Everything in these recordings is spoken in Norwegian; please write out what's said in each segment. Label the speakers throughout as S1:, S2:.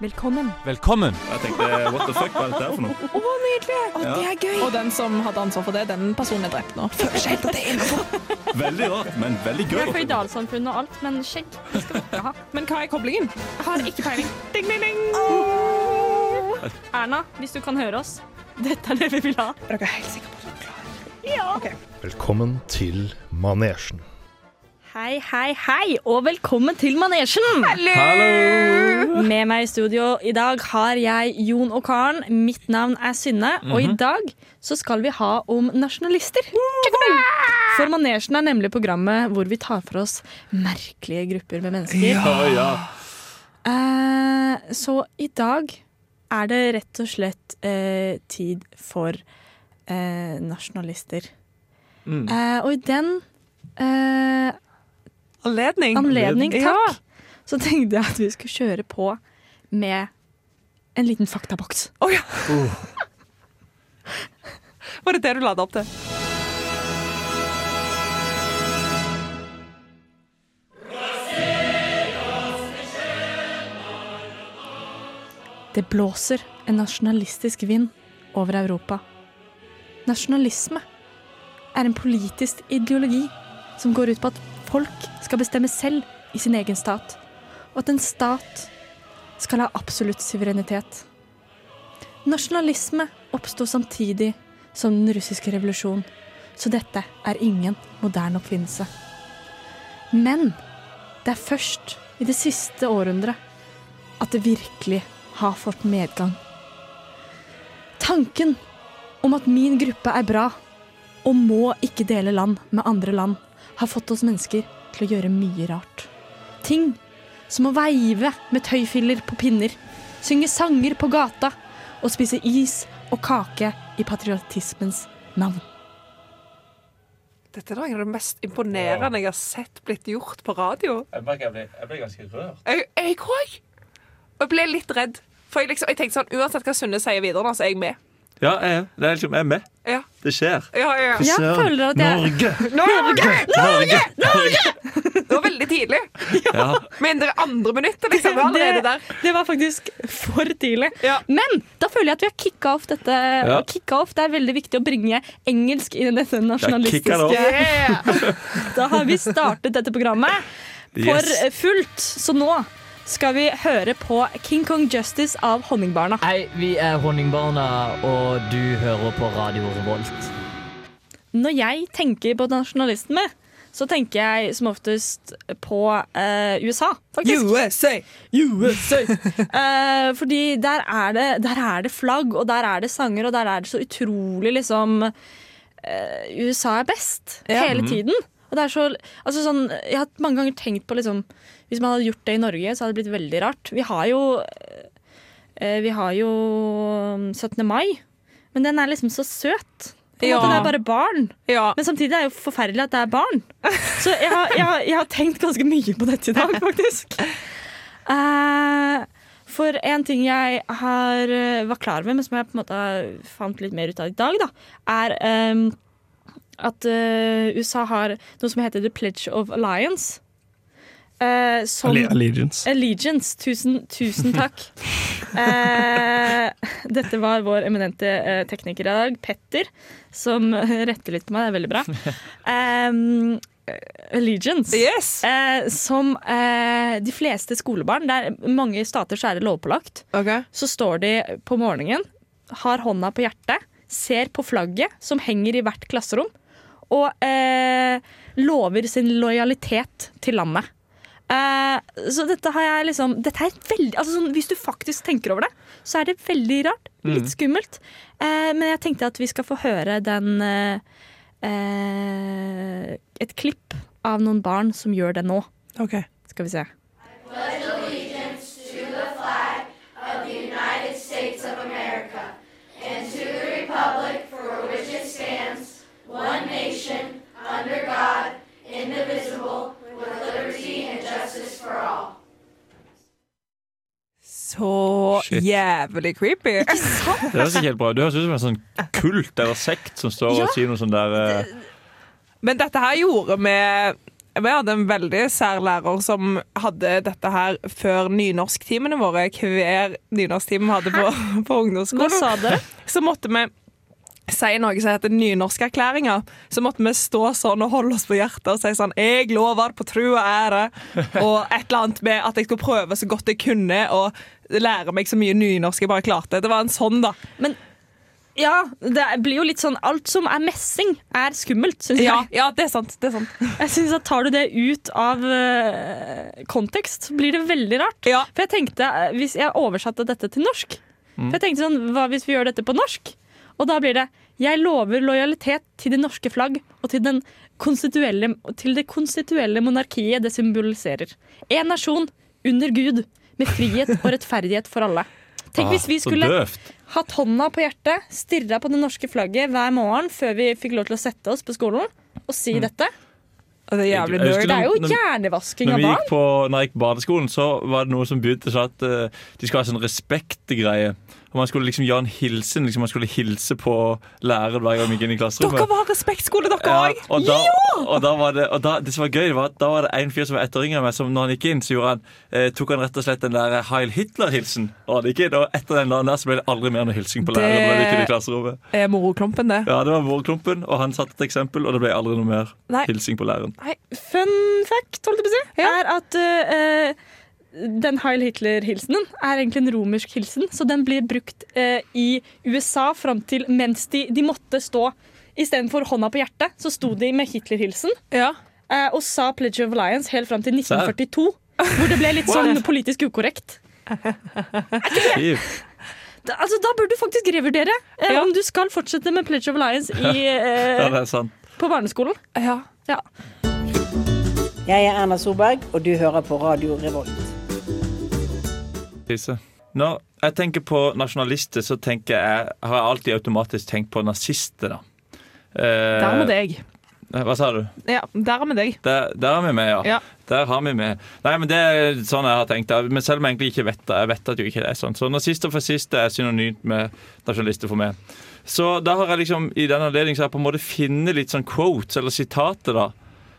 S1: Velkommen.
S2: Velkommen!
S3: Jeg tenkte what the fuck, hva er dette her for noe?
S1: Å, nydelig! Å,
S3: Ja.
S1: Det er gøy.
S4: Og den som hadde ansvar for det, den personen er drept nå.
S1: Føler seg helt at det er innenfor.
S3: Veldig rart, men veldig
S5: Vi er
S3: gøy.
S5: føydalsamfunn og alt, men skjegg det skal vi ikke ha.
S4: Men hva er koblingen?
S5: Har ikke peiling. Ding, ding, ding. Erna, hvis du kan høre oss, dette er det vi vil ha.
S4: Dere er helt sikre på at dere klarer det.
S6: Velkommen til manesjen.
S5: Hei, hei, hei, og velkommen til Manesjen!
S2: Hallo!
S5: Med meg i studio i dag har jeg Jon og Karen. Mitt navn er Synne. Og
S4: Mhm.
S5: i dag så skal vi ha om nasjonalister. For Manesjen er nemlig programmet hvor vi tar for oss merkelige grupper med mennesker.
S3: Å, ja.
S5: Eh, så i dag er det rett og slett eh, tid for eh, nasjonalister. Eh, og i den eh,
S4: Anledning.
S5: anledning,
S4: Ja.
S5: takk, så tenkte jeg at vi skulle kjøre på med en liten faktaboks.
S4: Var det det du la det opp til?
S5: Det blåser en nasjonalistisk vind over Europa. Nasjonalisme er en politisk ideologi som går ut på at folk skal bestemme selv i sin egen stat, og at en stat skal ha absolutt suverenitet. Nasjonalisme oppsto samtidig som den russiske revolusjon, så dette er ingen moderne oppfinnelse. Men det er først i det siste århundret at det virkelig har fått medgang. Tanken om at min gruppe er bra og må ikke dele land med andre land, har fått oss mennesker til å gjøre mye rart. Ting som å veive med tøyfiller på pinner, synge sanger på gata og spise is og kake i patriotismens navn.
S4: Dette er noe av det mest imponerende jeg har sett blitt gjort på radio.
S2: Jeg merker jeg ble, jeg ble ganske rørt.
S4: Jeg, jeg òg. Og jeg ble litt redd. For jeg, liksom, jeg tenkte sånn, uansett hva Sunne sier videre, nå, så er jeg med.
S3: ja jeg, er- det er liksom, jeg er med.
S4: Ja.
S3: Det skjer.
S4: Ja, ja, ja.
S5: Jeg føler at jeg
S6: Norge!
S4: Norge!
S6: Norge!
S4: Det var veldig tidlig.
S3: Ja.
S4: Men det er andre minuttet, liksom. Det er allerede der.
S5: det var faktisk for tidlig.
S4: Ja.
S5: Men da føler jeg at vi har kicka off dette.
S3: Ja.
S5: Kicka off, Det er veldig viktig å bringe engelsk inn i dette
S3: kicka det off.
S5: nasjonalistiske
S4: Yeah.
S5: Da har vi startet dette programmet for
S3: Yes.
S5: fullt, så nå skal vi høre på King Kong Justice av Honningbarna.
S7: Hei, vi er Honningbarna, og du hører på Radio Revolt.
S5: Når jeg tenker på nasjonalisme, så tenker jeg som oftest på eh, USA, faktisk.
S4: USA.
S5: USA! Eh, fordi der er, det, der er det flagg, og der er det sanger, og der er det så utrolig liksom eh, USA er best hele tiden. Og det er så, altså sånn, jeg har mange ganger tenkt på liksom, Hvis man hadde gjort det i Norge, så hadde det blitt veldig rart. Vi har jo, eh, vi har jo mm, 17. mai, men den er liksom så søt. På en
S4: Ja.
S5: måte, det er bare barn.
S4: Ja.
S5: Men samtidig er det jo forferdelig at det er barn. Så jeg har, jeg har, jeg har tenkt ganske mye på dette i dag, faktisk. Eh, for en ting jeg har, eh, var klar over, men som jeg på en måte fant litt mer ut av i dag, da, er eh, at eh, USA har noe som heter The Pledge of Alliance. eh, som
S3: Allegiance.
S5: Allegiance. Tusen, tusen takk. Eh, dette var vår eminente eh, tekniker i dag, Petter, som eh, retter litt på meg. Det er veldig bra. Ehm, allegiance.
S4: Yes.
S5: Eh, som eh, de fleste skolebarn Det er mange stater så er det lovpålagt.
S4: Ok.
S5: Så står de på morgenen, har hånda på hjertet, ser på flagget som henger i hvert klasserom, og eh, lover sin lojalitet til landet. Eh, så dette har jeg liksom dette er veldig, altså sånn, Hvis du faktisk tenker over det, så er det veldig rart. Litt skummelt. Eh, men jeg tenkte at vi skal få høre den eh, eh, Et klipp av noen barn som gjør det nå.
S4: Ok.
S5: Skal vi se.
S4: Så
S3: Shit.
S4: jævlig creepy.
S3: Det høres ikke helt bra. Du høres ut som en sånn kult eller sekt som står
S5: Ja.
S3: og sier noe sånn der eh,
S4: Men dette her gjorde vi Vi hadde en veldig sær lærer som hadde dette her før nynorsktimene våre. Hver nynorsktime vi hadde på, på
S5: Hva
S4: ungdomsskolen.
S5: sa dere?
S4: Så måtte vi si noe som heter nynorskerklæringa. Så måtte vi stå sånn og holde oss på hjertet og si sånn Jeg lover på tru og ære. Og et eller annet med at jeg skulle prøve så godt jeg kunne og lære meg så mye nynorsk jeg bare klarte. Det var en sånn, da.
S5: Ja, det blir jo litt sånn Alt som er messing, er skummelt, syns
S4: Ja,
S5: jeg.
S4: ja, det er sant. Det er sant.
S5: Jeg synes at Tar du det ut av eh, kontekst, blir det veldig rart.
S4: Ja.
S5: For jeg tenkte, eh, Hvis jeg oversatte dette til norsk For jeg tenkte sånn, Hva hvis vi gjør dette på norsk? Og da blir det Jeg lover lojalitet til det norske flagg og til, den konstituelle, til det konstituelle monarkiet det symboliserer. Én nasjon under Gud, med frihet og rettferdighet for alle. Tenk hvis vi
S3: Ah,
S5: skulle
S3: Så døvt.
S5: hatt hånda på hjertet, stirra på det norske flagget hver morgen før vi fikk lov til å sette oss på skolen og si dette.
S4: Og det er jævlig
S3: Jeg husker
S4: nerd.
S5: Det er jo
S3: Når-
S5: hjernevasking
S3: Når,
S5: av
S3: vi gikk
S5: barn.
S3: på, når jeg gikk på barneskolen, så var det noe som begynte sånn at eh, de skulle ha sånn respektgreie. Og Man skulle liksom gjøre en hilsen. Liksom man skulle hilse på læreren hver gang man gikk inn i klasserommet.
S4: Dere var respektskole, dere
S3: Ja,
S4: òg!
S3: og da, og da var det, og da, det som var gøy, det var at da var det en fyr som var etterringer meg, som når han gikk inn, så gjorde han, eh, tok han rett og slett den der Heil Hitler-hilsen. Og han gikk inn, og etter den dagen der så ble det aldri mer noe hilsing på
S4: Det-
S3: læreren når han gikk inn i klasserommet.
S4: Er moroklumpen det?
S3: Ja, det var vårklumpen, og han satte et eksempel, og det ble aldri noe mer
S4: Nei.
S3: hilsing på læreren.
S5: Fun fact, holdt jeg på å si, er at eh, den Heil Hitler-hilsenen er egentlig en romersk hilsen, så den blir brukt eh, i USA fram til mens de, de måtte stå Istedenfor hånda på hjertet, så sto de med Hitler-hilsen
S4: Ja.
S5: eh, og sa Pledge of Alliance helt fram til 1942, hvor det ble litt sånn politisk ukorrekt.
S3: Fy.
S5: Da- Altså, da bør du faktisk revurdere eh,
S4: Ja.
S5: om du skal fortsette med Pledge of Alliance i,
S3: Ja,
S5: eh,
S3: det er sant.
S5: på barneskolen.
S4: ja.
S5: Ja.
S8: Jeg er Erna Solberg, og du hører på Radio Revolt.
S3: Tisse. Når jeg tenker på nasjonalister, så tenker jeg, har jeg alltid automatisk tenkt på nazister, da. Eh,
S4: Der med deg.
S3: Hva sa du?
S4: Ja, der med deg.
S3: Der, der er vi med, ja.
S4: Ja.
S3: Der har vi med. Nei, men Det er sånn jeg har tenkt. det. Men selv om jeg egentlig ikke vet det. Jeg vet at jo ikke det er sånn. Så nazister og fascister er synonymt med nasjonalister for meg. Så da har jeg liksom i den anledning så har jeg på en måte funnet litt sånn quotes eller sitater da,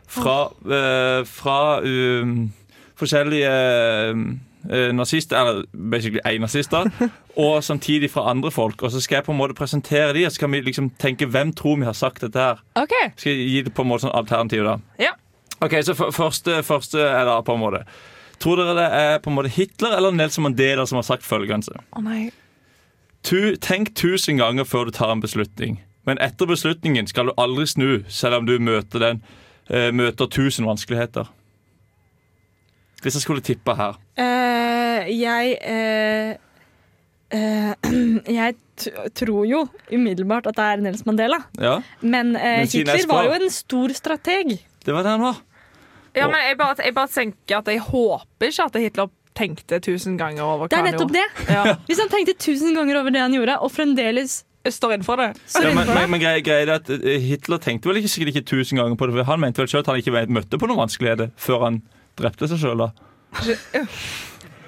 S3: fra, eh, fra um, forskjellige eh, nazister, eller basically én nazist, da, og samtidig fra andre folk. Og så skal jeg på en måte presentere de, og så kan vi liksom tenke hvem tror vi har sagt dette her.
S4: OK.
S3: Skal jeg gi det på en måte sånn alternativ, da?
S4: Ja.
S3: Ok, Så f- første, første er da på en måte Tror dere det er på en måte Hitler eller Nelson Mandela som har sagt følgende?
S4: Å nei.
S3: Tu, tenk tusen ganger før du tar en beslutning. Men etter beslutningen skal du aldri snu, selv om du møter, den, eh, møter tusen vanskeligheter. Hvis jeg skulle tippe her
S5: Eh, jeg eh, eh, Jeg t tror jo umiddelbart at det er Nels Mandela,
S3: Ja,
S5: men, eh,
S3: Men siden jeg
S5: Hitler var
S3: spør-
S5: jo en stor strateg.
S3: det var det han var.
S4: Ja, men jeg bare, jeg bare tenker at jeg håper ikke at Hitler tenkte tusen ganger over
S5: Det
S4: hva
S5: er
S4: han
S5: nettopp
S4: gjorde.
S5: det.
S4: Ja.
S5: Hvis han tenkte tusen ganger over det han gjorde, og fremdeles
S4: Jeg står innenfor det.
S5: står
S3: Ja, men
S5: innenfor det
S3: men, men greia greia er at eh, Hitler tenkte vel ikke sikkert ikke tusen ganger på det. for Han mente vel sjøl at han ikke møtte på noen vanskeligheter før han drepte seg sjøl, da.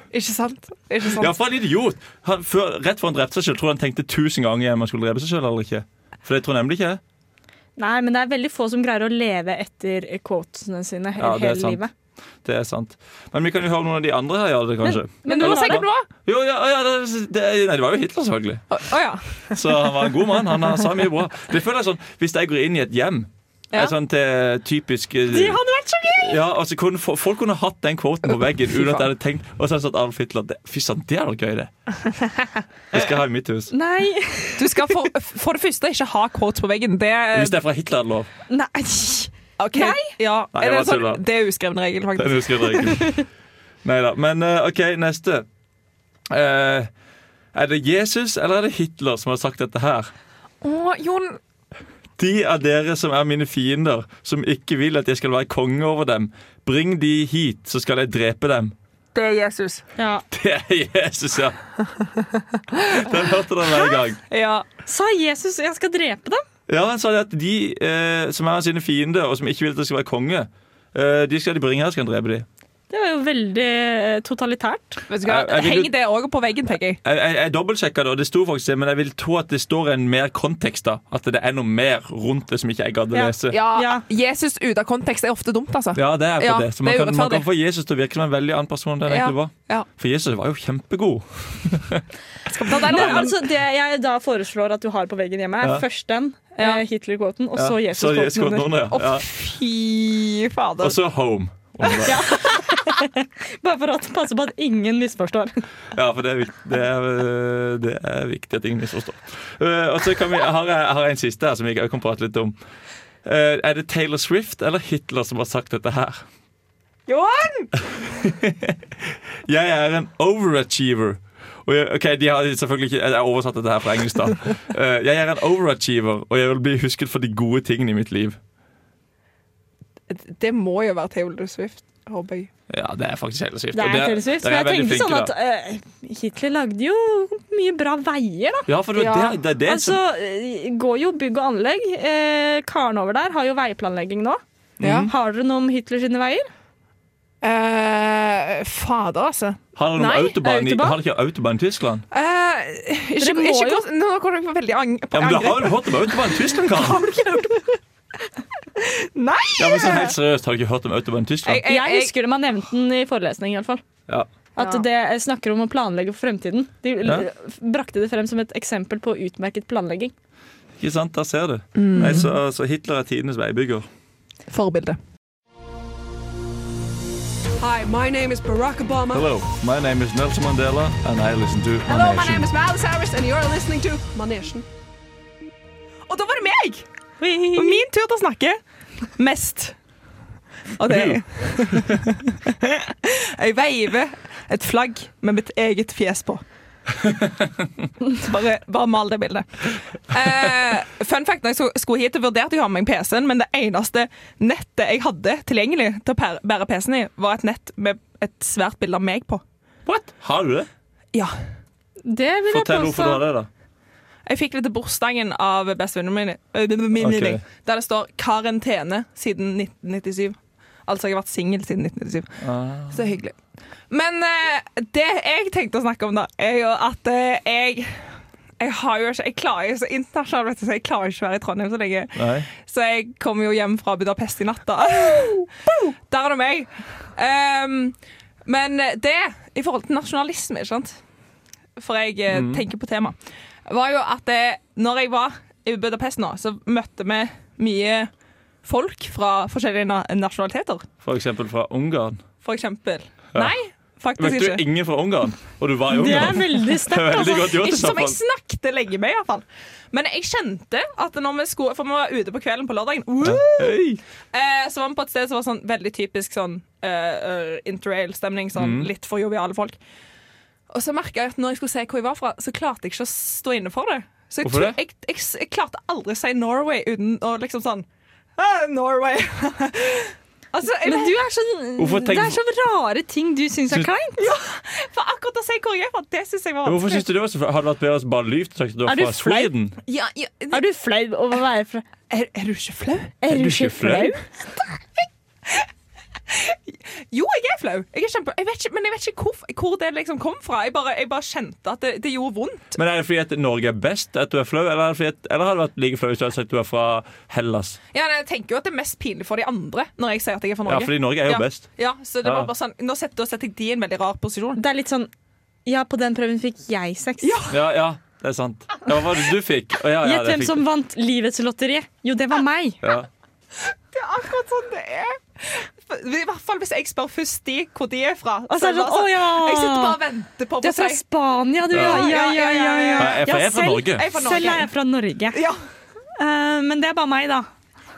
S4: Ikke sant? Ikke sant?
S3: Ja, for en idiot! Han, før, rett før han drepte seg selv, tror jeg han tenkte tusen ganger om han skulle drepe seg selv eller ikke. For det tror jeg nemlig ikke. jeg.
S5: Nei, men det er veldig få som greier å leve etter quotesene sine hele,
S3: Ja, det er
S5: hele
S3: sant.
S5: livet.
S3: Det er sant. Men vi kan jo høre noen av de andre her gjøre det, kanskje.
S4: Men du må
S3: Eller-
S4: si hvem det var.
S3: Jo, ja, ja, det, det, nei, det var jo Hitler, selvfølgelig.
S4: Å å ja.
S3: Så han var en god mann. Han, han sa mye bra. Det føler jeg sånn, Hvis jeg går inn i et hjem
S4: Ja.
S3: er Sånn til typisk eh,
S5: Det hadde vært så gøy!
S3: ja, altså, kunne, fo- Folk kunne hatt den kvoten på veggen uten at jeg hadde tenkt Og så hadde jeg satt Adolf Hitler det, Fy sann, det hadde vært gøy, det. Det skal jeg ha i mitt
S4: Eh.
S3: hus.
S5: Nei,
S4: Du skal for, for det første ikke ha quotes på veggen. Det,
S3: Hvis det er fra Hitler, er det lov.
S5: nei.
S4: Ok. Ja.
S3: Nei,
S4: er
S3: jeg
S4: det,
S3: bare
S4: sånn,
S3: tuller.
S4: det er uskreven regel,
S3: Den
S4: faktisk.
S3: husker jeg ikke. Neida, Men eh, OK, neste. Eh, er det Jesus eller er det Hitler som har sagt dette her?
S4: Å, Jon.
S3: De av dere som er mine fiender, som ikke vil at jeg skal være konge over dem, bring de hit, så skal jeg drepe dem.
S4: Det er Jesus.
S5: Ja.
S3: Det er Jesus, ja. Den hørte dere hver gang.
S4: Ja.
S5: Sa Jesus 'jeg skal drepe dem'?
S3: Ja, Han sa det at de eh, som er sine fiender, og som ikke vil at jeg skal være konge, eh, de skal de bringe her, så skal han drepe de.
S5: Det var jo veldig eh, totalitært.
S4: Vet du hva?
S3: Jeg- jeg vil jo-
S4: Heng det òg på veggen, tenker jeg.
S3: Jeg, jeg, jeg dobbeltsjekka det, og det sto faktisk det, men jeg vil tro at det står en mer kontekst. da At det er noe mer rundt det som ikke jeg gadd å
S5: Ja.
S3: lese.
S4: Ja,
S5: Ja.
S4: Jesus ute av kontekst er ofte dumt, altså.
S3: Ja, det er på
S4: Ja,
S3: det. Så man
S4: det er
S3: kan, man
S4: urettferdig.
S3: kan få Jesus til å virke som en veldig annen person enn han
S4: Ja,
S3: egentlig var.
S4: ja.
S3: For Jesus var jo kjempegod.
S4: Da, der,
S5: Men
S4: er det-
S5: altså, det jeg da foreslår at du har på veggen hjemme, er
S3: Ja.
S5: først den
S4: Ja.
S5: eh, Hitler-kvoten, og
S3: Ja,
S5: så Jesus-kvoten
S3: Jesus-kvoten
S5: under.
S3: under, ja.
S4: Fy
S3: Ja.
S4: fader.
S3: Og så Home. under. Ja.
S5: Bare for å passe på at ingen misforstår.
S3: for det er, vik- det, er, øh, det er viktig at ingen misforstår. Uh, og så kan vi, jeg har jeg jeg har en siste her som vi kan prate litt om. Uh, er det Taylor Swift eller Hitler som har sagt dette her?
S4: Johan!
S3: Jeg er en overachiever. Og jeg, ok, de har selvfølgelig ikke Jeg har oversatt dette her fra engelsk, da. Eh, jeg er en overachiever, og jeg vil bli husket for de gode tingene i mitt liv.
S4: Det må jo være Taylor Swift, håper jeg.
S3: Ja, det er faktisk Taylor Swift.
S5: Det
S3: og
S5: er Taylor Swift.
S3: dere
S5: Men jeg
S3: veldig
S5: tenker sånn
S3: flinke,
S5: at
S3: da.
S5: eh, Hitler lagde jo mye bra veier, da.
S3: Ja, for det,
S4: Ja.
S3: det, det er det
S5: Altså, eh, går jo bygg og anlegg. Eh, Karen over der har jo veiplanlegging nå.
S3: Mhm.
S4: Ja.
S5: Har dere noe om Hitler sine veier?
S4: Eh, fader, altså.
S3: som Har det noe
S5: Nei,
S3: autobahn i
S5: autobahn?
S3: Har det ikke autobahn i Tyskland?
S4: Eh, ikke,
S5: må
S4: ikke,
S5: jo-
S4: gå- Nå kommer jeg på veldig ang på
S3: Ja, men du har
S4: angrep.
S3: jo hørt om autobahn i Tyskland, Karen?
S4: Nei!
S3: Ja, men så helt seriøst, har du ikke hørt om autobahn i Tyskland?
S4: Jeg- jeg-
S5: Jeg husker det man nevnte den i forelesning, i alle fall.
S3: Ja.
S5: At
S4: Ja.
S5: det snakker om å planlegge for fremtiden. De l-
S3: Ja.
S5: f- brakte det frem som et eksempel på utmerket planlegging.
S3: Ikke sant? Der ser du.
S5: Mm.
S3: Nei, så, så Hitler er tidenes veibygger.
S4: Forbilde. Hi, my name is Barack Obama.
S3: Hello, my name is Nelson Mandela, and I listen to
S4: Hello, my name is Miles Harris, and you're listening to Manesjen. Og da var det meg! Og min tur til å snakke. Mest. Og det Jeg veiver et flagg med mitt eget fjes på. Så bare, bare mal det bildet. Eh, fun fact, når jeg så- skulle hit, vurderte jeg å ha med meg PC-en, men det eneste nettet jeg hadde tilgjengelig til å pære- bære PC-en i, var et nett med et svært bilde av meg på.
S3: What? Har du det?
S4: Ja.
S5: Det vil jeg
S3: Fortell hvorfor du
S5: påstå.
S3: har det, da.
S4: Jeg fikk det til bursdagen av bestevenninnen min, øh, min, min
S3: Ok.
S4: der det står 'karantene' siden 1997. Altså jeg har vært singel siden 1997. Så det er hyggelig. Men eh, det jeg tenkte å snakke om, da, er jo at eh, jeg jeg har jo ikke, jeg klarer jo så internasjonal, vet du, så jeg klarer ikke å være i Trondheim så lenge.
S3: Nei.
S4: Så jeg kom jo hjem fra Budapest i natt, da. Der er det meg. Ehm, men det, i forhold til nasjonalisme, ikke sant? for jeg eh,
S3: Mm.
S4: tenker på tema, var jo at eh, når jeg var i Budapest nå, så møtte vi mye folk fra forskjellige na nasjonaliteter,
S3: For eksempel fra Ungarn.
S4: for eksempel.
S3: Ja.
S4: Nei, faktisk
S3: Møtte
S4: ikke.
S3: du ingen fra Ungarn? Og du var i
S5: Det er
S3: Ungarn?
S5: veldig
S3: Det er
S5: sterkt,
S3: veldig
S5: altså.
S3: godt gjort. i
S4: Ikke
S3: så
S4: som jeg
S3: fall.
S4: snakket lenge med, iallfall. Men jeg kjente at når vi skulle For vi var ute på kvelden på lørdagen.
S3: Ja.
S4: Woo!
S3: Hei.
S4: Eh, så var vi på et sted som var sånn veldig typisk sånn eh, eh, interrail-stemning. Sånn litt for joviale folk. Og så merka jeg at når jeg skulle se hvor jeg var fra, så klarte jeg ikke å stå inne for det. Så jeg,
S3: Hvorfor
S4: tror-
S3: det?
S4: Jeg, jeg, s- jeg klarte aldri å si Norway uten å liksom sånn «Ah, Norway! altså, jeg,
S5: Men du er sånn,
S3: Hvorfor
S5: det
S3: tenk-
S5: er så rare ting du syns er
S3: Syns-
S5: kleint.
S4: For akkurat å si hvor jeg er fra, det syns jeg var
S3: Men Hvorfor
S4: vanskelig.
S3: syns du det var så flaut? Hadde det vært bedre å bare lyve og sagt at du
S5: Er
S3: var
S5: du
S3: fra
S5: flau?
S3: Sweden?
S4: Ja, ja, det-
S5: Er du flau over å være fra
S4: er, er du ikke flau?
S5: Er du
S3: du ikke
S5: ikke flau?
S4: Jo, jeg er flau. Jeg er kjempe, jeg vet ikke, men jeg vet ikke hvor, hvor det liksom kom fra. Jeg bare, jeg bare kjente at det, det gjorde vondt.
S3: Men er det fordi at Norge er best at du er flau, eller, er det fordi at, eller hadde det vært like flau hvis du hadde sagt at du er fra Hellas?
S4: Ja, nei, jeg tenker jo at det er mest pinlig for de andre når jeg sier at jeg er fra
S3: Ja,
S4: Norge.
S3: fordi Norge er jo
S4: Ja.
S3: best.
S4: Ja, så det
S3: Ja.
S4: var bare sånn, nå setter, da setter jeg de i en veldig rar posisjon.
S5: Det er litt sånn Ja, på den prøven fikk jeg sex.
S4: Ja.
S3: Ja, ja, det er sant. Ja, hva var det du fikk? Å, ja, ja,
S5: Gjett
S3: det
S5: hvem
S3: fikk
S5: som
S3: du.
S5: vant livets lotteri. Jo, det var meg.
S3: ja.
S4: Det er akkurat sånn det er. I hvert fall hvis jeg spør først de hvor de er fra.
S5: Og så er det
S4: bare
S5: sånn Å ja!
S4: Jeg sitter bare og venter på
S5: Du er fra
S4: si-
S5: Spania, du, ja. Ja, ja, ja. ja,
S3: Nei, jeg er fra- jeg er fra
S5: selv-
S3: Norge.
S4: Jeg er fra Norge.
S5: Selv er jeg fra Norge.
S4: Ja.
S5: Eh, men det er bare meg, da.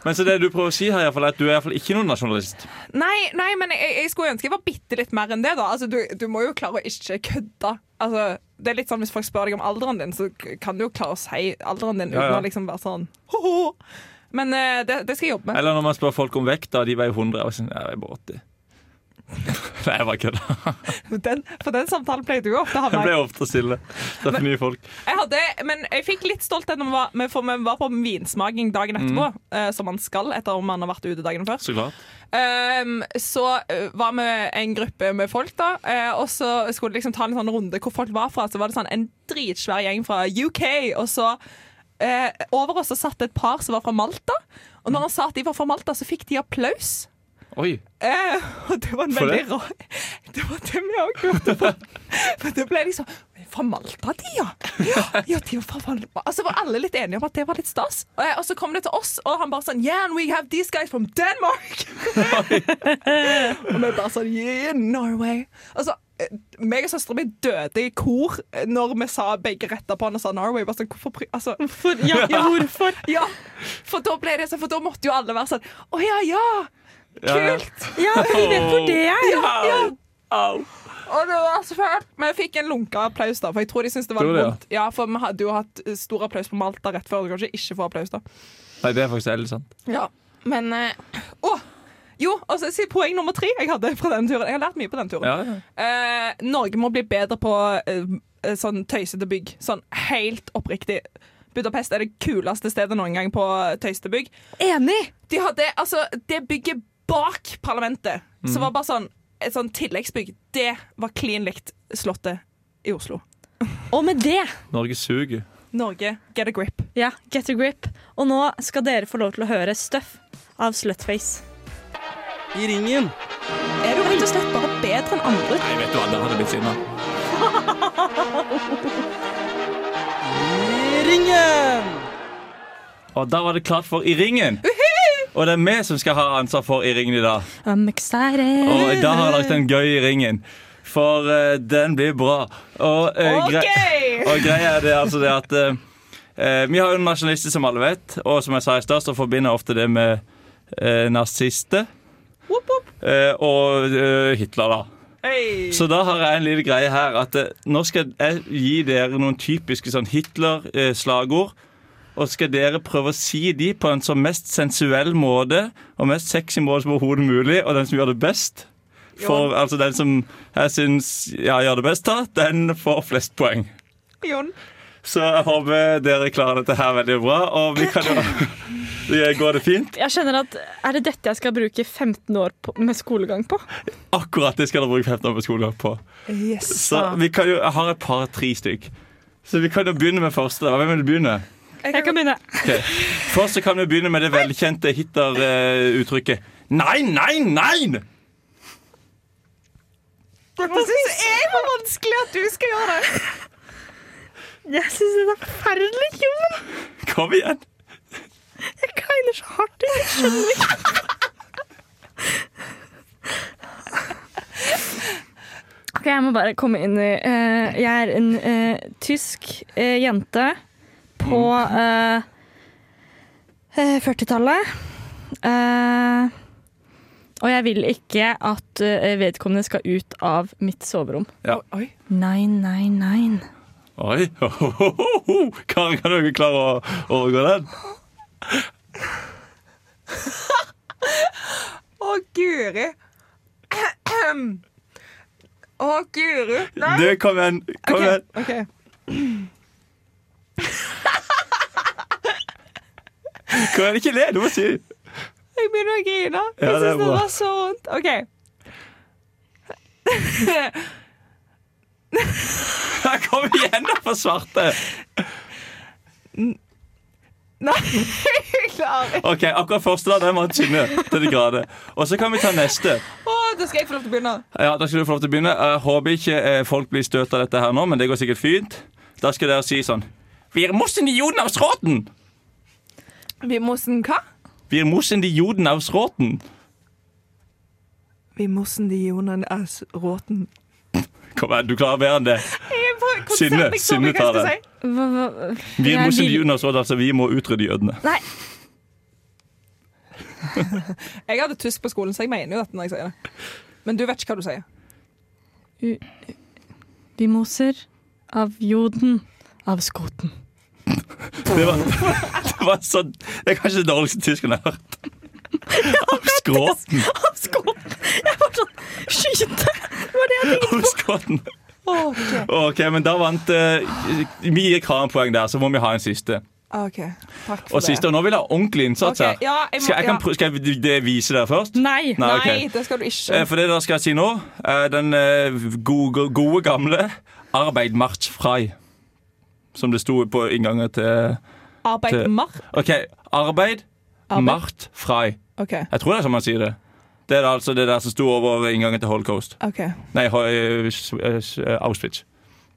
S3: Men så det du prøver å si her, i hvert fall, er at du er i hvert fall ikke noen nasjonalist.
S4: Nei, nei, men jeg, jeg skulle ønske jeg var bitte litt mer enn det. da altså, du, du må jo klare å ikke kødde. Altså, det er litt sånn Hvis folk spør deg om alderen din, så k- kan du jo klare å si alderen din
S3: Ja,
S4: uten
S3: ja.
S4: å liksom være sånn «Hoho!» Men eh, det, det skal jeg jobbe med.
S3: Eller når man spør folk om vekt, da de veier 100, og sånn, ja, jeg er bare 80. Nei, jeg bare kødder.
S4: Den, for den samtalen pleide du jo ofte å
S3: Jeg
S4: havne i.
S3: ble ofte stille. Det er for nye folk.
S4: Jeg hadde, men jeg fikk litt stolthet når vi var, men for vi var på vinsmaking dagen etterpå, eh, som man skal etter om man har vært ute dagen før.
S3: Så klart.
S4: Ehm, så eh, var vi en gruppe med folk, da. eh, og så skulle de liksom ta en sånn runde hvor folk var fra. Så var det sånn en dritsvær gjeng fra UK. Og så eh, over oss så satt det et par som var fra Malta. Og når han sa at de var fra Malta, så fikk de applaus.
S3: Oi.
S4: Eh, og det var en
S3: For
S4: veldig rar Det var det vi òg lurte på. For det ble liksom Fra Malta, de, ja! Ja, ja de var fra Malta. Altså var alle litt enige om at det var litt stas. Og, og så kom det til oss, og han bare sånn Yeah, and we have these guys from Denmark! og vi bare sånn Yeah, Norway. Altså, eh, meg og søstera mi døde i kor eh, når vi sa begge retta på han og sa Norway. Bare sånn, hvorfor, pri- altså,
S5: For, ja, ja, hvorfor?
S4: ja, for da ble det sånn, for da måtte jo alle være sånn Å ja, ja!
S3: Ja, ja.
S4: Kult!
S5: Ja, jeg vet hvor det er.
S4: Ja, ja. Og det var så fælt. Men jeg fikk en lunka applaus, da. For jeg tror de syntes det var
S3: Tror du det,
S4: vondt. Ja, for vi hadde jo hatt eh, stor applaus på Malta rett før. Du kan ikke ikke få applaus, da.
S3: Nei, det er faktisk helt sant.
S4: Ja, men eh, Å! Jo, og så så poeng nummer tre jeg hadde fra den turen. Jeg har lært mye på den turen.
S3: Ja, ja.
S4: Eh, Norge må bli bedre på eh, eh, sånn tøysete bygg. Sånn helt oppriktig. Budapest er det kuleste stedet noen gang på tøysete bygg.
S5: Enig!
S4: De hadde, altså, det bygget bak parlamentet,
S3: Mhm.
S4: som var bare sånn et sånn tilleggsbygg, det var klin likt Slottet i Oslo.
S5: Og med det
S3: Norge suger.
S4: Norge, get a grip.
S5: Ja, get a grip. Og nå skal dere få lov til å høre Stuff av Slutface.
S4: Er du rett og slett bare bedre enn andre?
S3: Nei, vet du hva, der hadde jeg blitt sinna. Og da var det klart for I ringen. Og det er vi som skal ha ansvar for I ringen i dag.
S5: I'm excited.
S3: Og da har jeg lagt en gøy I ringen. For eh, den blir bra. Og, eh, gre-
S4: OK!
S3: og greia er det altså det at eh, eh, Vi har jo nasjonalister, som alle vet, og som jeg sa i stad, så forbinder jeg ofte det med eh, nazister.
S4: Whoop, whoop.
S3: eh, og eh, Hitler, da.
S4: Hey.
S3: Så da har jeg en liten greie her. At eh, Nå skal jeg gi dere noen typiske sånn Hitler-slagord. Og skal dere prøve å si de på en så mest sensuell måte og mest sexy måte som overhodet mulig, og den som gjør det best. For altså den som jeg syns ja, gjør det best, da, den får flest poeng.
S4: Jon.
S3: Så jeg håper dere klarer dette her veldig bra. Og vi kan jo Det Går det fint?
S5: Jeg kjenner at Er det dette jeg skal bruke 15 år på, med skolegang på?
S3: Akkurat det skal dere bruke 15 år på skolen på.
S4: Yes.
S3: Så vi kan jo, jeg har et par-tre stykk. Så vi kan jo begynne med første. da. Hvem vil begynne?
S5: Jeg kan begynne.
S3: Ok. Først så kan vi begynne med det velkjente Hitler-uttrykket. Nei, nei, nei!
S4: Dette syns jeg var vanskelig at du skal gjøre det.
S5: Jeg syns det er forferdelig kult.
S3: Kom igjen!
S5: Jeg kleiner så hardt. Jeg skjønner ikke. OK, jeg må bare komme inn i eh, Jeg er en eh, tysk eh, jente på eh, eh, 40-tallet. Eh, og jeg vil ikke at eh, vedkommende skal ut av mitt soverom.
S3: Ja.
S4: Oi.
S5: Nei, nei, nei.
S3: Oi. ho, ho, ho, ho. Karen, kan du ikke klare å overgå den?
S4: Å, guri. Ahem. Å, guri. Nei.
S3: Du, kom igjen. Kom
S4: Ok,
S3: igjen. Kom
S4: ok.
S3: igjen. Ikke le, du må si det.
S4: Jeg begynner å grine.
S3: Ja,
S4: Jeg
S3: det er
S4: synes det
S3: bra.
S4: var så vondt. OK.
S3: Ja, Kom igjen, da, for svarte.
S4: Nei, jeg klarer ikke.
S3: Ok, Akkurat første da, den var tynne til de grader. Og så kan vi ta neste.
S4: Å, da skal jeg få lov til å begynne.
S3: Ja, Da skal du få lov til å begynne. Jeg håper ikke eh, folk blir støtt av dette her nå, men det går sikkert fint. Da skal dere si sånn Wir müssen die Juden aus Roten!
S4: Vi mossen hva?
S3: Wir müssen die Juden aus Roten!
S4: Vi mossen de jonene as råten.
S3: Kom igjen, du klarer bedre enn det. Synne, Synne tar det.
S5: Hva, hva?
S3: Wir
S5: Jeg
S3: müssen
S5: vil-
S3: die Juden aus Roten, altså vi må utrydde jødene.
S4: Jeg hadde tysk på skolen, så jeg mener jo dette når jeg sier det. Men du vet ikke hva du sier.
S5: Vi moser av joden av skoten.
S3: Det var, det var sånn Det er kanskje det dårligste tyskerne jeg har hørt. Av skråten.
S5: Av skoten! Jeg var sånn Sky!
S4: skyte.
S3: Huskodden.
S4: OK.
S3: OK, men da vant eh, Vi gir Karen poeng der, så må vi ha en siste.
S4: Ah, ok, Takk for
S3: Og siste, og nå vil jeg ha ordentlig innsats
S4: Ok,
S3: her.
S4: ja, jeg må-
S3: skal, jeg kan,
S4: ja.
S3: prø- skal jeg d- det vise dere først?
S5: Nei.
S3: Nei,
S4: det.
S3: ok.
S4: Nei, det skal du ikke.
S3: Eh, For det dere skal si nå, er den eh, gode, gode gamle Arbeid March Frei. Som det sto på inngangen til
S4: Arbeid
S3: til-
S4: mark.
S3: OK. Arbeid,
S4: Arbeid.
S3: Mart Frei.
S4: OK.
S3: Jeg tror det er sånn man sier det. Det er altså det der som sto over inngangen til Holocaust.
S4: ok
S3: Nei, Ho- eh, s- eh, s- eh, Auschwitz.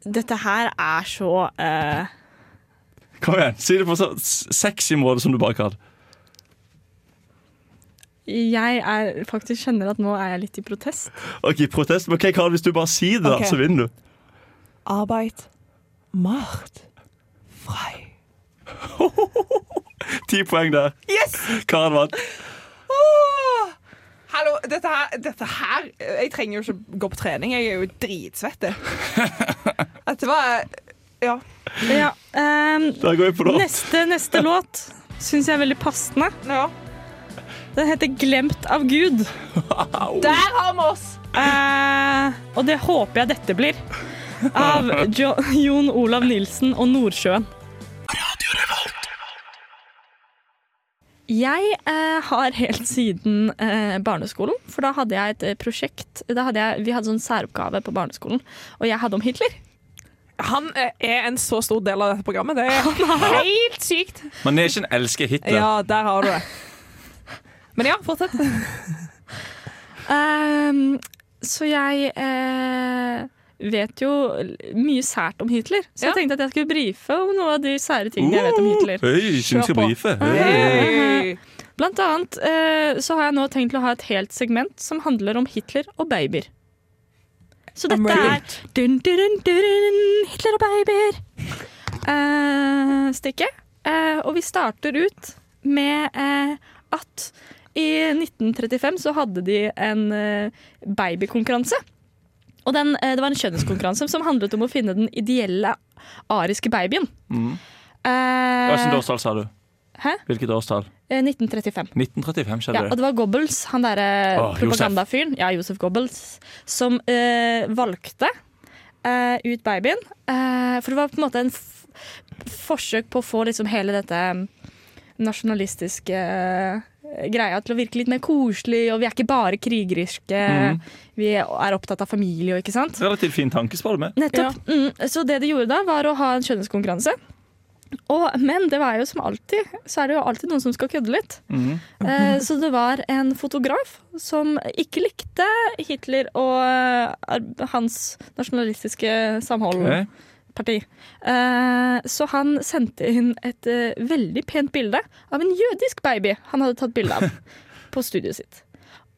S5: Dette her er så eh,
S3: Kom igjen, si det på så s- sexy måte som du bare kan.
S5: Jeg er, faktisk kjenner at nå er jeg litt i protest.
S3: OK, protest. men Ok, Karl, hvis du bare sier det, da,
S4: Ok.
S3: så vinner du.
S4: Arbeid mart frei.
S3: Ti poeng der.
S4: Yes!
S3: Karen vant.
S4: Åh! Hallo, dette her, dette her Jeg trenger jo ikke gå på trening. Jeg er jo dritsvett. Dette var Ja.
S5: Ja, ehm,
S3: Da går vi på låt.
S5: neste, neste låt syns jeg er veldig passende.
S4: ja.
S5: Den heter 'Glemt av Gud'.
S4: Der har vi oss!
S5: Eh, og det håper jeg dette blir. Av jo Jon Olav Nilsen og Nordsjøen. Jeg eh, har helt siden eh, barneskolen, for da hadde jeg et eh, prosjekt da hadde jeg, Vi hadde sånn særoppgave på barneskolen, og jeg hadde om Hitler.
S4: Han eh, er en så stor del av dette programmet. Det er helt sykt.
S3: Manesjen elsker Hitler.
S4: Ja, der har du det. Men ja, fortsett.
S5: Ehm, så jeg eh, vet jo mye sært om Hitler, så jeg
S4: Ja.
S5: tenkte at jeg skulle brife om noe av de sære tingene jeg vet
S3: Oh,
S5: om Hitler.
S3: Uh, Høy, synes jeg skal
S5: på.
S3: brife.
S4: Hey.
S5: Blant annet eh, så har jeg nå tenkt til å ha et helt segment som handler om Hitler og babyer. Så
S4: I'm
S5: dette
S4: ready.
S5: er dun, dun, dun, dun, Hitler og babyer. Eh, stikket. Eh, og vi starter ut med eh, at i 1935 så hadde de en eh, babykonkurranse. Og den, eh, det var en kjønnskonkurranse som handlet om å finne den ideelle ariske babyen. Eh,
S3: Hvilket årstall sa du?
S5: Hæ?
S3: Hvilket årstall?
S5: eh, 1935.
S3: 1935 skjedde
S5: Ja, og
S3: det.
S5: det var Goebbels, han derre
S3: Åh, Josef.
S5: propagandafyren, ja, Josef Goebbels, som eh, valgte eh, ut babyen. Eh, for det var på en måte en f forsøk på å få liksom hele dette nasjonalistiske eh, greia til å virke litt mer koselig, og vi er ikke bare krigeriske.
S3: Mm.
S5: Vi er opptatt av familie og ikke sant.
S3: Relativt fin tanke, spør du meg.
S5: Nettopp. Mm, så det de gjorde da, var å ha en skjønnhetskonkurranse. Og, men det var jo som alltid, så er det jo alltid noen som skal kødde litt.
S3: Mhm.
S5: Eh, så det var en fotograf som ikke likte Hitler og eh, ar- hans nasjonalistiske samhold.
S3: Ok.
S5: Parti. Eh, så han sendte inn et eh, veldig pent bilde av en jødisk baby han hadde tatt bilde av på studioet sitt.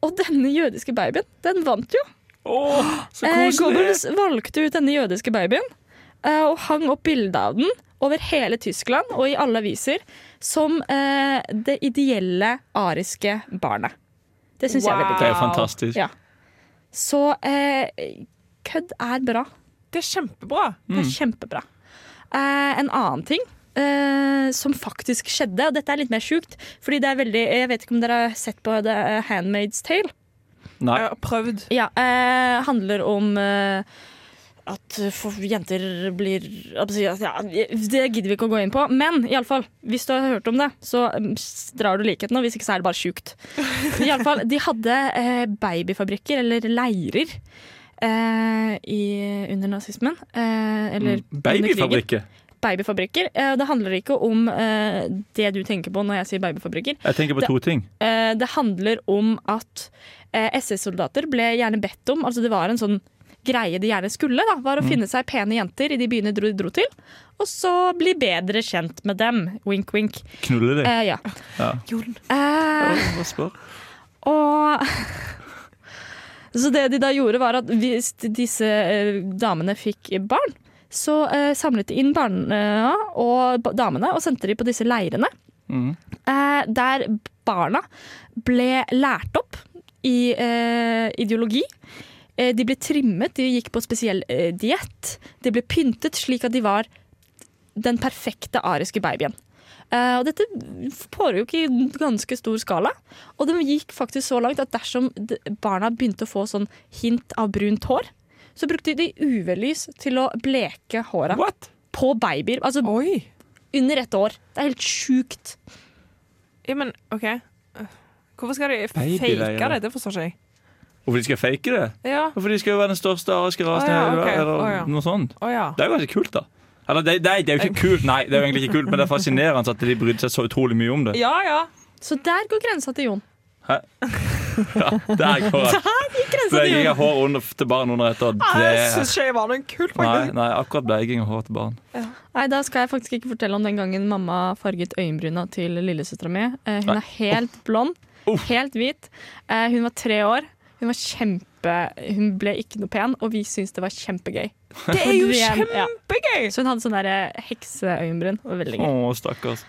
S5: Og denne jødiske babyen, den vant jo.
S3: Åh, så
S5: Eh,
S3: koselig!
S5: Goebbels valgte ut denne jødiske babyen eh, og hang opp bilde av den over hele Tyskland og i alle aviser som eh, det ideelle ariske barnet. Det syns jeg er veldig
S3: det
S5: gøy.
S3: er jo fantastisk.
S5: Ja. Så eh, kødd er bra.
S4: Det er kjempebra.
S5: Det er kjempebra. Eh, en annen ting eh, som faktisk skjedde, og dette er litt mer sjukt fordi det er veldig, Jeg vet ikke om dere har sett på The Handmaid's Tale?
S3: Nei.
S4: Jeg har prøvd.
S5: Ja, eh, handler om eh, at for jenter blir altså, ja, ja, Det gidder vi ikke å gå inn på. Men i alle fall, hvis du har hørt om det, så mm, s- drar du likheten. Og hvis ikke, så er det bare sjukt. I alle fall, de hadde eh, babyfabrikker, eller leirer, eh, i, under nazismen. Eh,
S3: Mm,
S5: eller under krigen
S3: Babyfabrikker.
S5: Babyfabrikker. Eh, det handler ikke om eh, det du tenker på når jeg sier babyfabrikker.
S3: Jeg tenker på
S5: Det-
S3: to ting.
S5: Eh, det handler om at eh, SS-soldater ble gjerne bedt om Altså det var en sånn greie de gjerne skulle, da, var å finne seg pene jenter i de byene de dro, dro til. Og så bli bedre kjent med dem. Wink, wink.
S3: Knulle deg.
S5: Eh, ja.
S3: Ja.
S5: Eh,
S3: Hva spør?
S5: og Så det de da gjorde, var at hvis disse eh, damene fikk barn, så eh, samlet de inn barna og ba- damene og sendte de på disse leirene. Eh, der barna ble lært opp i eh, ideologi. Eh, de ble trimmet, de gikk på spesiell eh, diett. De ble pyntet slik at de var den perfekte ariske babyen. Eh, og dette foregår jo ikke i en ganske stor skala. Og det gikk faktisk så langt at dersom d- barna begynte å få sånn hint av brunt hår, så brukte de UV-lys til å bleke håra
S3: What?
S5: på babyer. Altså
S4: Oi.
S5: under ett år. Det er helt sjukt.
S4: Ja, men OK. Hvorfor skal de fake
S3: Babyleier.
S4: det? Det forstår ikke jeg.
S3: Hvorfor de skal fake det?
S4: Ja.
S3: Hvorfor de skal jo være den største ariske rasen i
S4: Å ja,
S3: hele
S4: ok.
S3: verden,
S4: Å
S3: eller
S4: ja.
S3: noe sånt.
S4: Å ja.
S3: Det er jo ganske kult, da. Eller det, det, det er jo ikke kult, nei, det er jo egentlig ikke kult, men det er fascinerende at de brydde seg så utrolig mye om det.
S4: Ja, ja.
S5: Så der går grensa til Jon.
S3: Ja, der går jeg. Bleking av hår under, til barn under ett år,
S4: Ah, Jeg
S3: det
S4: syns ikke jeg var noen kul på
S3: Nei, nei, akkurat bleking av hår til barn.
S5: Nei, da skal jeg faktisk ikke fortelle om den gangen mamma farget øyenbryna til lillesøstera mi. Eh, hun
S3: Nei.
S5: er helt blond, helt hvit. Eh, hun var tre år. Hun var kjempe Hun ble ikke noe pen, og vi syntes det var kjempegøy.
S4: Det er jo
S5: Ja.
S4: kjempegøy!
S5: Så hun hadde sånn der, eh, hekseøyenbryn. Det var veldig
S3: Å,
S5: gøy.
S3: stakkars.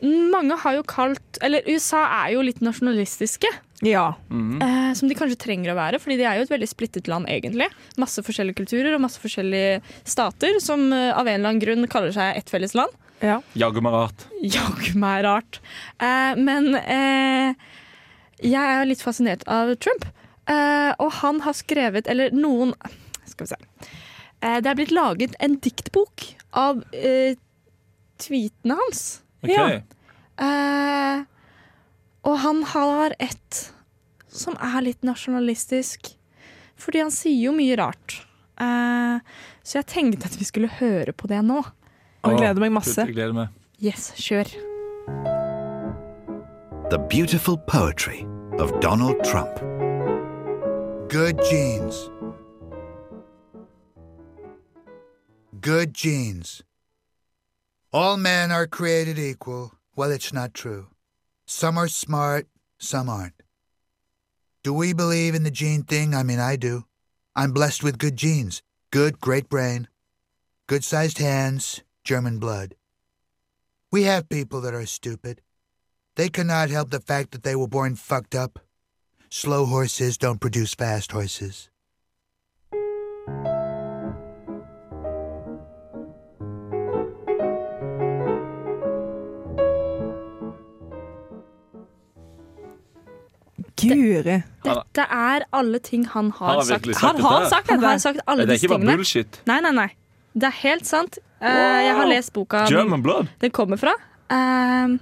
S5: Mange har jo kalt Eller USA er jo litt nasjonalistiske.
S4: Ja.
S5: Eh, som de kanskje trenger å være, fordi de er jo et veldig splittet land, egentlig. Masse forskjellige kulturer og masse forskjellige stater som eh, av en eller annen grunn kaller seg ett felles land.
S4: ja.
S3: Jaggu meg rart.
S5: Jaggu meg rart. Eh, men eh, jeg er litt fascinert av Trump. Eh, og han har skrevet, eller noen Skal vi se. Eh, det er blitt laget en diktbok av eh, tweetene hans.
S3: Ok.
S4: Ja.
S5: Eh, og han har et som er litt nasjonalistisk. Fordi han sier jo mye rart. Eh, så jeg tenkte at vi skulle høre på det nå.
S4: Og jeg gleder meg masse.
S3: Jeg gleder meg.
S5: Yes, kjør.
S9: The Beautiful Poetry of Donald Trump. Good genes. Good genes. All men are created equal. Well, it's not true. Some are smart, some aren't. Do we believe in the gene thing? I mean, I do. I'm blessed with good genes, good, great brain, good sized hands, German blood. We have people that are stupid. They cannot help the fact that they were born fucked up. Slow horses don't produce fast horses.
S4: Guri.
S5: Dette er alle ting han
S3: Han
S5: har
S3: har
S5: sagt.
S3: virkelig sagt
S4: Han har
S3: dette.
S4: sagt
S5: Han har
S4: dette!
S5: sagt alle
S3: Det er
S5: disse
S3: ikke bare
S5: tingene.
S3: bullshit.
S5: Nei, nei, nei. Det er helt sant. Eh, jeg har lest boka den,
S3: German blood.
S5: den kommer fra. Eh,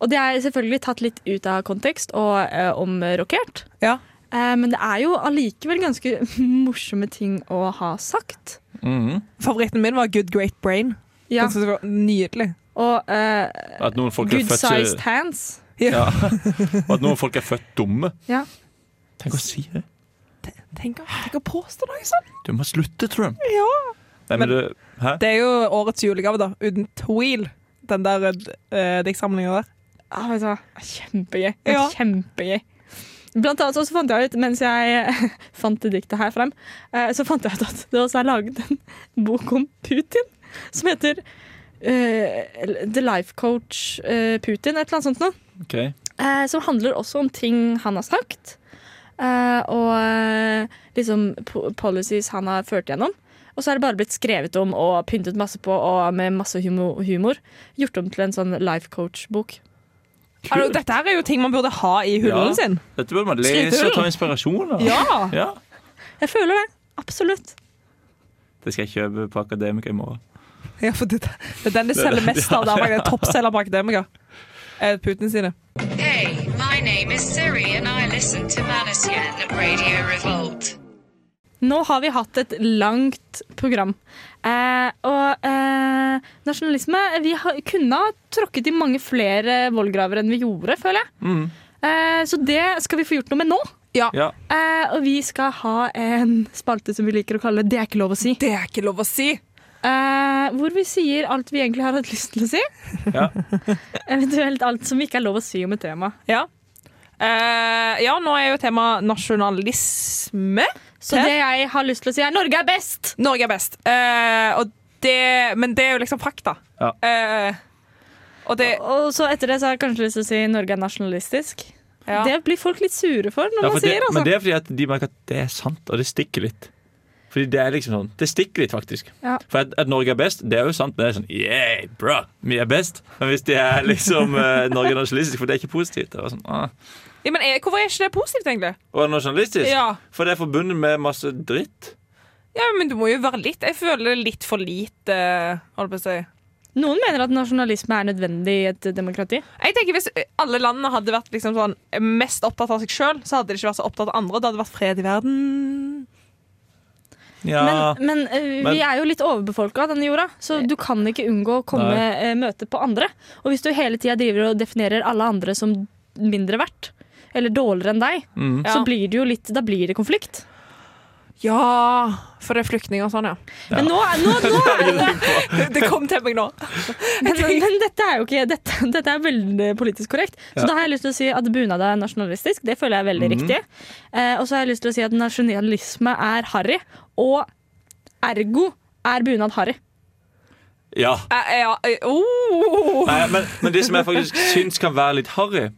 S5: og det er selvfølgelig tatt litt ut av kontekst og eh, omrokert.
S4: Ja.
S5: Eh, men det er jo allikevel ganske morsomme ting å ha sagt.
S3: Mhm.
S4: Favoritten min var Good Great Brain.
S5: Ja,
S4: Den synes jeg var nydelig.
S5: Og eh,
S3: At noen folk er
S5: good
S3: født
S5: sized
S3: så-
S5: hands.
S3: Ja. Og at noen folk er født dumme.
S5: Ja.
S3: Tenk å si det.
S4: Tenk, å- tenk å påstå noe sånt!
S3: Du må slutte, Trump.
S4: Ja.
S3: Nei, men,
S4: Men-
S3: du, hæ?
S4: Det er jo årets julegave, da. Uten tvil. Den der uh, diktsamlinga der.
S5: Ah, vet du hva? Kjempegøy. Det er
S4: Ja.
S5: Kjempegøy. Blant annet så fant jeg ut, mens jeg fant det diktet her frem, eh, så fant jeg ut at det også er laget en bok om Putin som heter eh, The Life Coach eh, Putin, et eller annet sånt noe.
S3: Ok.
S5: Eh, som handler også om ting han har sagt. eh, og eh, liksom po policies han har ført gjennom. Og så er det bare blitt skrevet om og pyntet masse på og med masse humo humor. Gjort om til en sånn life coach-bok.
S4: Altså, dette her er jo ting man burde ha i
S3: Ja.
S4: hulen sin.
S3: Dette burde man lese og
S5: Skrivehull.
S3: ta inspirasjon av.
S4: Ja!
S3: Ja.
S5: Jeg føler det. Absolutt.
S3: Det skal jeg kjøpe på Akademika i morgen.
S4: ja for det, det er den de selger mest av der. faktisk. Toppselger på Akademika. Eh, Putene sine.
S10: Hey, my name is Siri and I listen to Manasian Radio Revolt.
S5: Nå har vi hatt et langt program. Eh, og eh, nasjonalisme Vi har, kunne ha tråkket i mange flere vollgraver enn vi gjorde, føler jeg. Eh, så det skal vi få gjort noe med nå.
S3: Ja.
S5: Eh, og vi skal ha en spalte som vi liker å kalle Det er ikke lov å si.
S4: Det er ikke lov å si!
S5: Eh, hvor vi sier alt vi egentlig har hatt lyst til å si.
S3: Ja.
S5: Eventuelt alt som ikke er lov å si om et tema.
S4: Ja. Eh, ja, nå er jo temaet nasjonalisme.
S5: Så
S4: Ted?
S5: det jeg har lyst til å si, er Norge er best!
S4: Norge er best. Eh, og det, men det er jo liksom fakta.
S3: Ja.
S4: Eh, og det
S5: Eh, Og så etter det så har jeg kanskje lyst til å si Norge er nasjonalistisk.
S4: ja.
S5: Det blir folk litt sure for når
S3: Ja, for
S5: man
S3: det,
S5: sier, altså.
S3: Men det er fordi at de merker at det er sant, og det stikker litt. For Fordi det er liksom sånn, det stikker litt, faktisk.
S5: Ja.
S3: For at, at Norge er best, det er jo sant, men det er sånn Yeah, bra, vi er best. Men hvis de er liksom eh, Norge er nasjonalistisk, for det er ikke positivt. Det var sånn, ah.
S4: Ja, men er, hvorfor er ikke det positivt, egentlig?
S3: Og nasjonalistisk?
S4: Ja.
S3: For det er forbundet med masse dritt.
S4: Ja, men du må jo være litt Jeg føler det er litt for lite, eh, holdt på å si.
S5: Noen mener at nasjonalisme er nødvendig i et demokrati.
S4: Jeg tenker Hvis alle landene hadde vært liksom sånn, mest opptatt av seg sjøl, så hadde de ikke vært så opptatt av andre. Det hadde vært fred i verden.
S3: Ja.
S5: Men, men, eh,
S3: Men-
S5: vi er jo litt overbefolka, denne jorda, så du kan ikke unngå å komme
S3: Nei.
S5: eh, møte på andre. Og hvis du hele tida driver og definerer alle andre som mindre verdt, eller dårligere enn deg,
S3: Mm.
S5: så
S4: Ja.
S5: blir det jo litt, da blir det konflikt.
S4: Ja, for det er flyktninger og sånn, ja.
S5: Men nå, er- nå, nå er det
S4: Det, det kom til meg nå.
S5: men, men, Altså, men dette er jo ikke dette, dette er veldig politisk korrekt. Så
S3: Ja.
S5: da har jeg lyst til å si at bunad er nasjonalistisk. Det føler jeg er veldig riktig. Eh, og så har jeg lyst til å si at nasjonalisme er harry, og ergo er bunad harry.
S3: Ja.
S4: Eh, ja, eh, oh.
S3: Nei, men, men det som jeg faktisk syns kan være litt harry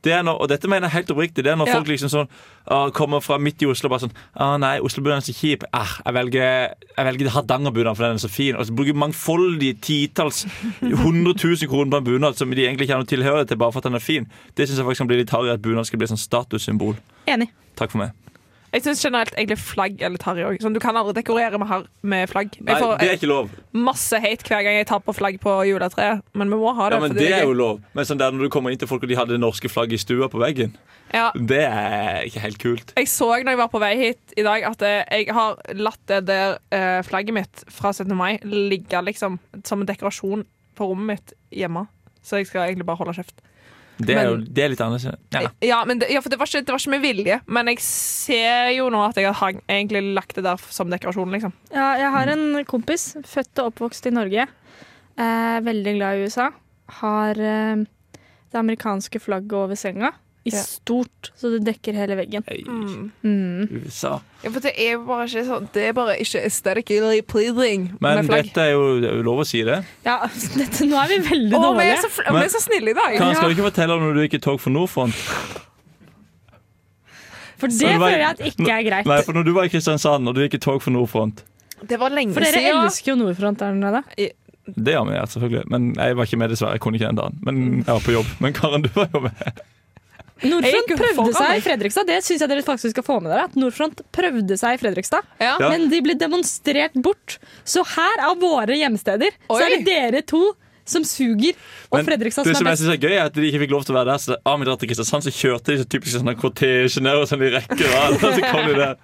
S3: det er når, og dette mener jeg helt oppriktig. Det er når
S4: Ja.
S3: folk liksom sånn ah, kommer fra midt i Oslo og bare sånn ah, 'Nei, Oslo-bunaden er så kjip. Ah, jeg velger, jeg velger Hardanger-bunaden, for den er så fin.' Og så bruker mangfoldige titalls 100 000 kroner på en bunad som de egentlig ikke har noe tilhørighet til, bare for at den er fin. Det syns jeg faktisk kan bli litt harry, at bunad skal bli et sånn statussymbol.
S5: Enig.
S3: Takk for meg.
S4: Jeg syns generelt egentlig flagg er litt harry òg. Sånn, du kan aldri dekorere med, har, med flagg.
S3: Nei,
S4: Jeg får
S3: det
S4: eh,
S3: er ikke lov.
S4: masse hate hver gang jeg tar på flagg på juletreet, men vi må ha
S3: Ja,
S4: det.
S3: men
S4: fordi
S3: det er
S4: gøy.
S3: jo lov. Men sånn der når du kommer inn til folk og de hadde det norske flagget i stua på veggen,
S4: ja.
S3: det er ikke helt kult.
S4: Jeg så når jeg var på vei hit i dag, at eh, jeg har latt det der eh, flagget mitt fra 17. mai ligge liksom som en dekorasjon på rommet mitt hjemme. Så jeg skal egentlig bare holde kjeft.
S3: Det er,
S4: Men-
S3: jo, det er litt annerledes. Ja.
S4: Ja, men det, ja for det var, ikke, det var ikke med vilje, men jeg ser jo nå at jeg har hang- egentlig lagt det der som dekorasjon, liksom.
S5: Ja, jeg har en kompis, født og oppvokst i Norge. Eh, veldig glad i USA. Har eh, det amerikanske flagget over senga. I
S4: Ja.
S5: stort, så det dekker hele veggen.
S3: Ei,
S5: Mm.
S3: USA.
S4: Ja, for det er jo bare ikke sånn Det er bare ikke aesthetically pleasing
S3: Men
S4: med flagg.
S3: dette er jo, det er jo lov å si det.
S5: Ja, dette, nå er vi veldig
S4: Å, vi
S5: dårlige.
S4: er, så, fl- vi
S3: Men-
S4: er så snille i dag.
S3: Kan, skal du ikke fortelle om når du gikk i tog for Nordfond?
S5: For det
S3: Men hva-
S5: føler jeg at ikke er greit.
S3: Nei, for når du var i Kristiansand og du gikk i tog for Nordfront
S4: Det var
S3: Mm.
S4: lenge
S5: For dere
S4: siden.
S5: elsker jo Nordfront der nede.
S3: Det gjør vi, ja, selvfølgelig. Men jeg var ikke med, dessverre. Jeg kunne ikke den dagen. Men jeg var på jobb. Men Karen, du var jo med.
S5: Nordfront
S4: Jeg gikk jo
S5: prøvde
S4: foran
S5: seg i
S4: deg.
S5: Fredrikstad. Det syns jeg dere faktisk skal få med dere. At Nordfront prøvde seg i Fredrikstad,
S3: Ja.
S4: Ja.
S5: Ah, men de ble demonstrert bort. Så her av våre hjemsteder, så
S4: Oi.
S5: er det dere to som suger, og
S3: Men
S5: Fredrikstad som
S3: det som
S5: er
S3: jeg
S5: best.
S3: synes er gøy, er at de ikke fikk lov til å være der. Så da vi drar til Kristiansand, så kjørte de så typisk sånn kortesje ned og sånn i rekker. Og alt, og så kom de der.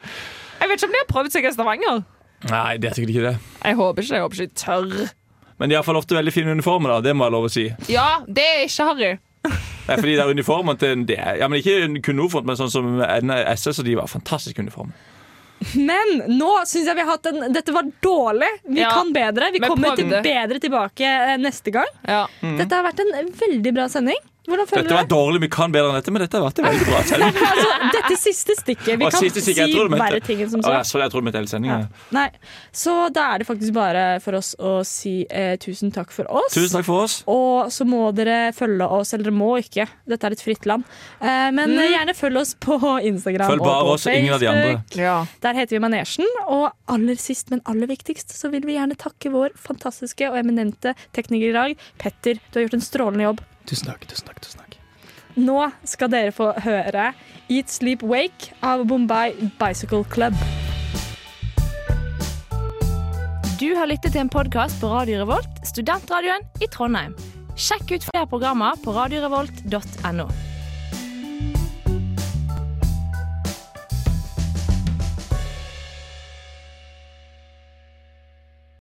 S4: Jeg vet ikke om de har prøvd seg i Stavanger.
S3: Nei, det er sikkert ikke det.
S4: Jeg håper ikke jeg håper ikke de tør.
S3: Men de har fått ofte veldig fine uniformer, da. Det må jeg lov å si.
S4: Ja, det er ikke harry.
S3: Nei, fordi det er uniformer til det er, ja, men Ikke kun Nordfront, men sånn som SS, og de var fantastiske uniformer.
S5: Men nå syns jeg vi har hatt en Dette var dårlig. Vi
S4: Ja.
S5: kan bedre. Vi
S4: Men
S5: kommer til
S4: prøvde.
S5: bedre tilbake eh, neste gang.
S4: Ja.
S5: Dette har vært en veldig bra sending. Hvordan føler
S3: Mm. Dette
S5: dere?
S3: var dårlig, vi kan bedre enn dette, men dette har vært en veldig bra sending.
S5: Altså, dette siste stikket. Vi
S3: Og
S5: kan
S3: siste stikk, jeg
S5: si
S3: tror du mente-
S5: verre ting enn som
S3: Å,
S5: så.
S3: ja, sorry, jeg trodde vi hele sendinga.
S5: Ja. Nei. Så da er det faktisk bare for oss å si eh, tusen takk for oss.
S3: Tusen takk for oss.
S5: Og så må dere følge oss, eller dere må ikke. Dette er et fritt land. Eh, men eh, gjerne følg oss på Instagram
S3: Mm. Følg bare
S5: og på
S3: oss og ingen av de andre.
S4: Ja.
S5: Der heter vi Manesjen. Og aller sist, men aller viktigst, så vil vi gjerne takke vår fantastiske og eminente tekniker i dag, Petter. Du har gjort en strålende jobb.
S7: Tusen takk, tusen takk, tusen takk.
S5: Nå skal dere få høre Eat Sleep Wake av Bombay Bicycle Club.
S11: Du har lyttet til en podkast på Radio Revolt, studentradioen i Trondheim. Sjekk ut flere programmer på radiorevolt.no.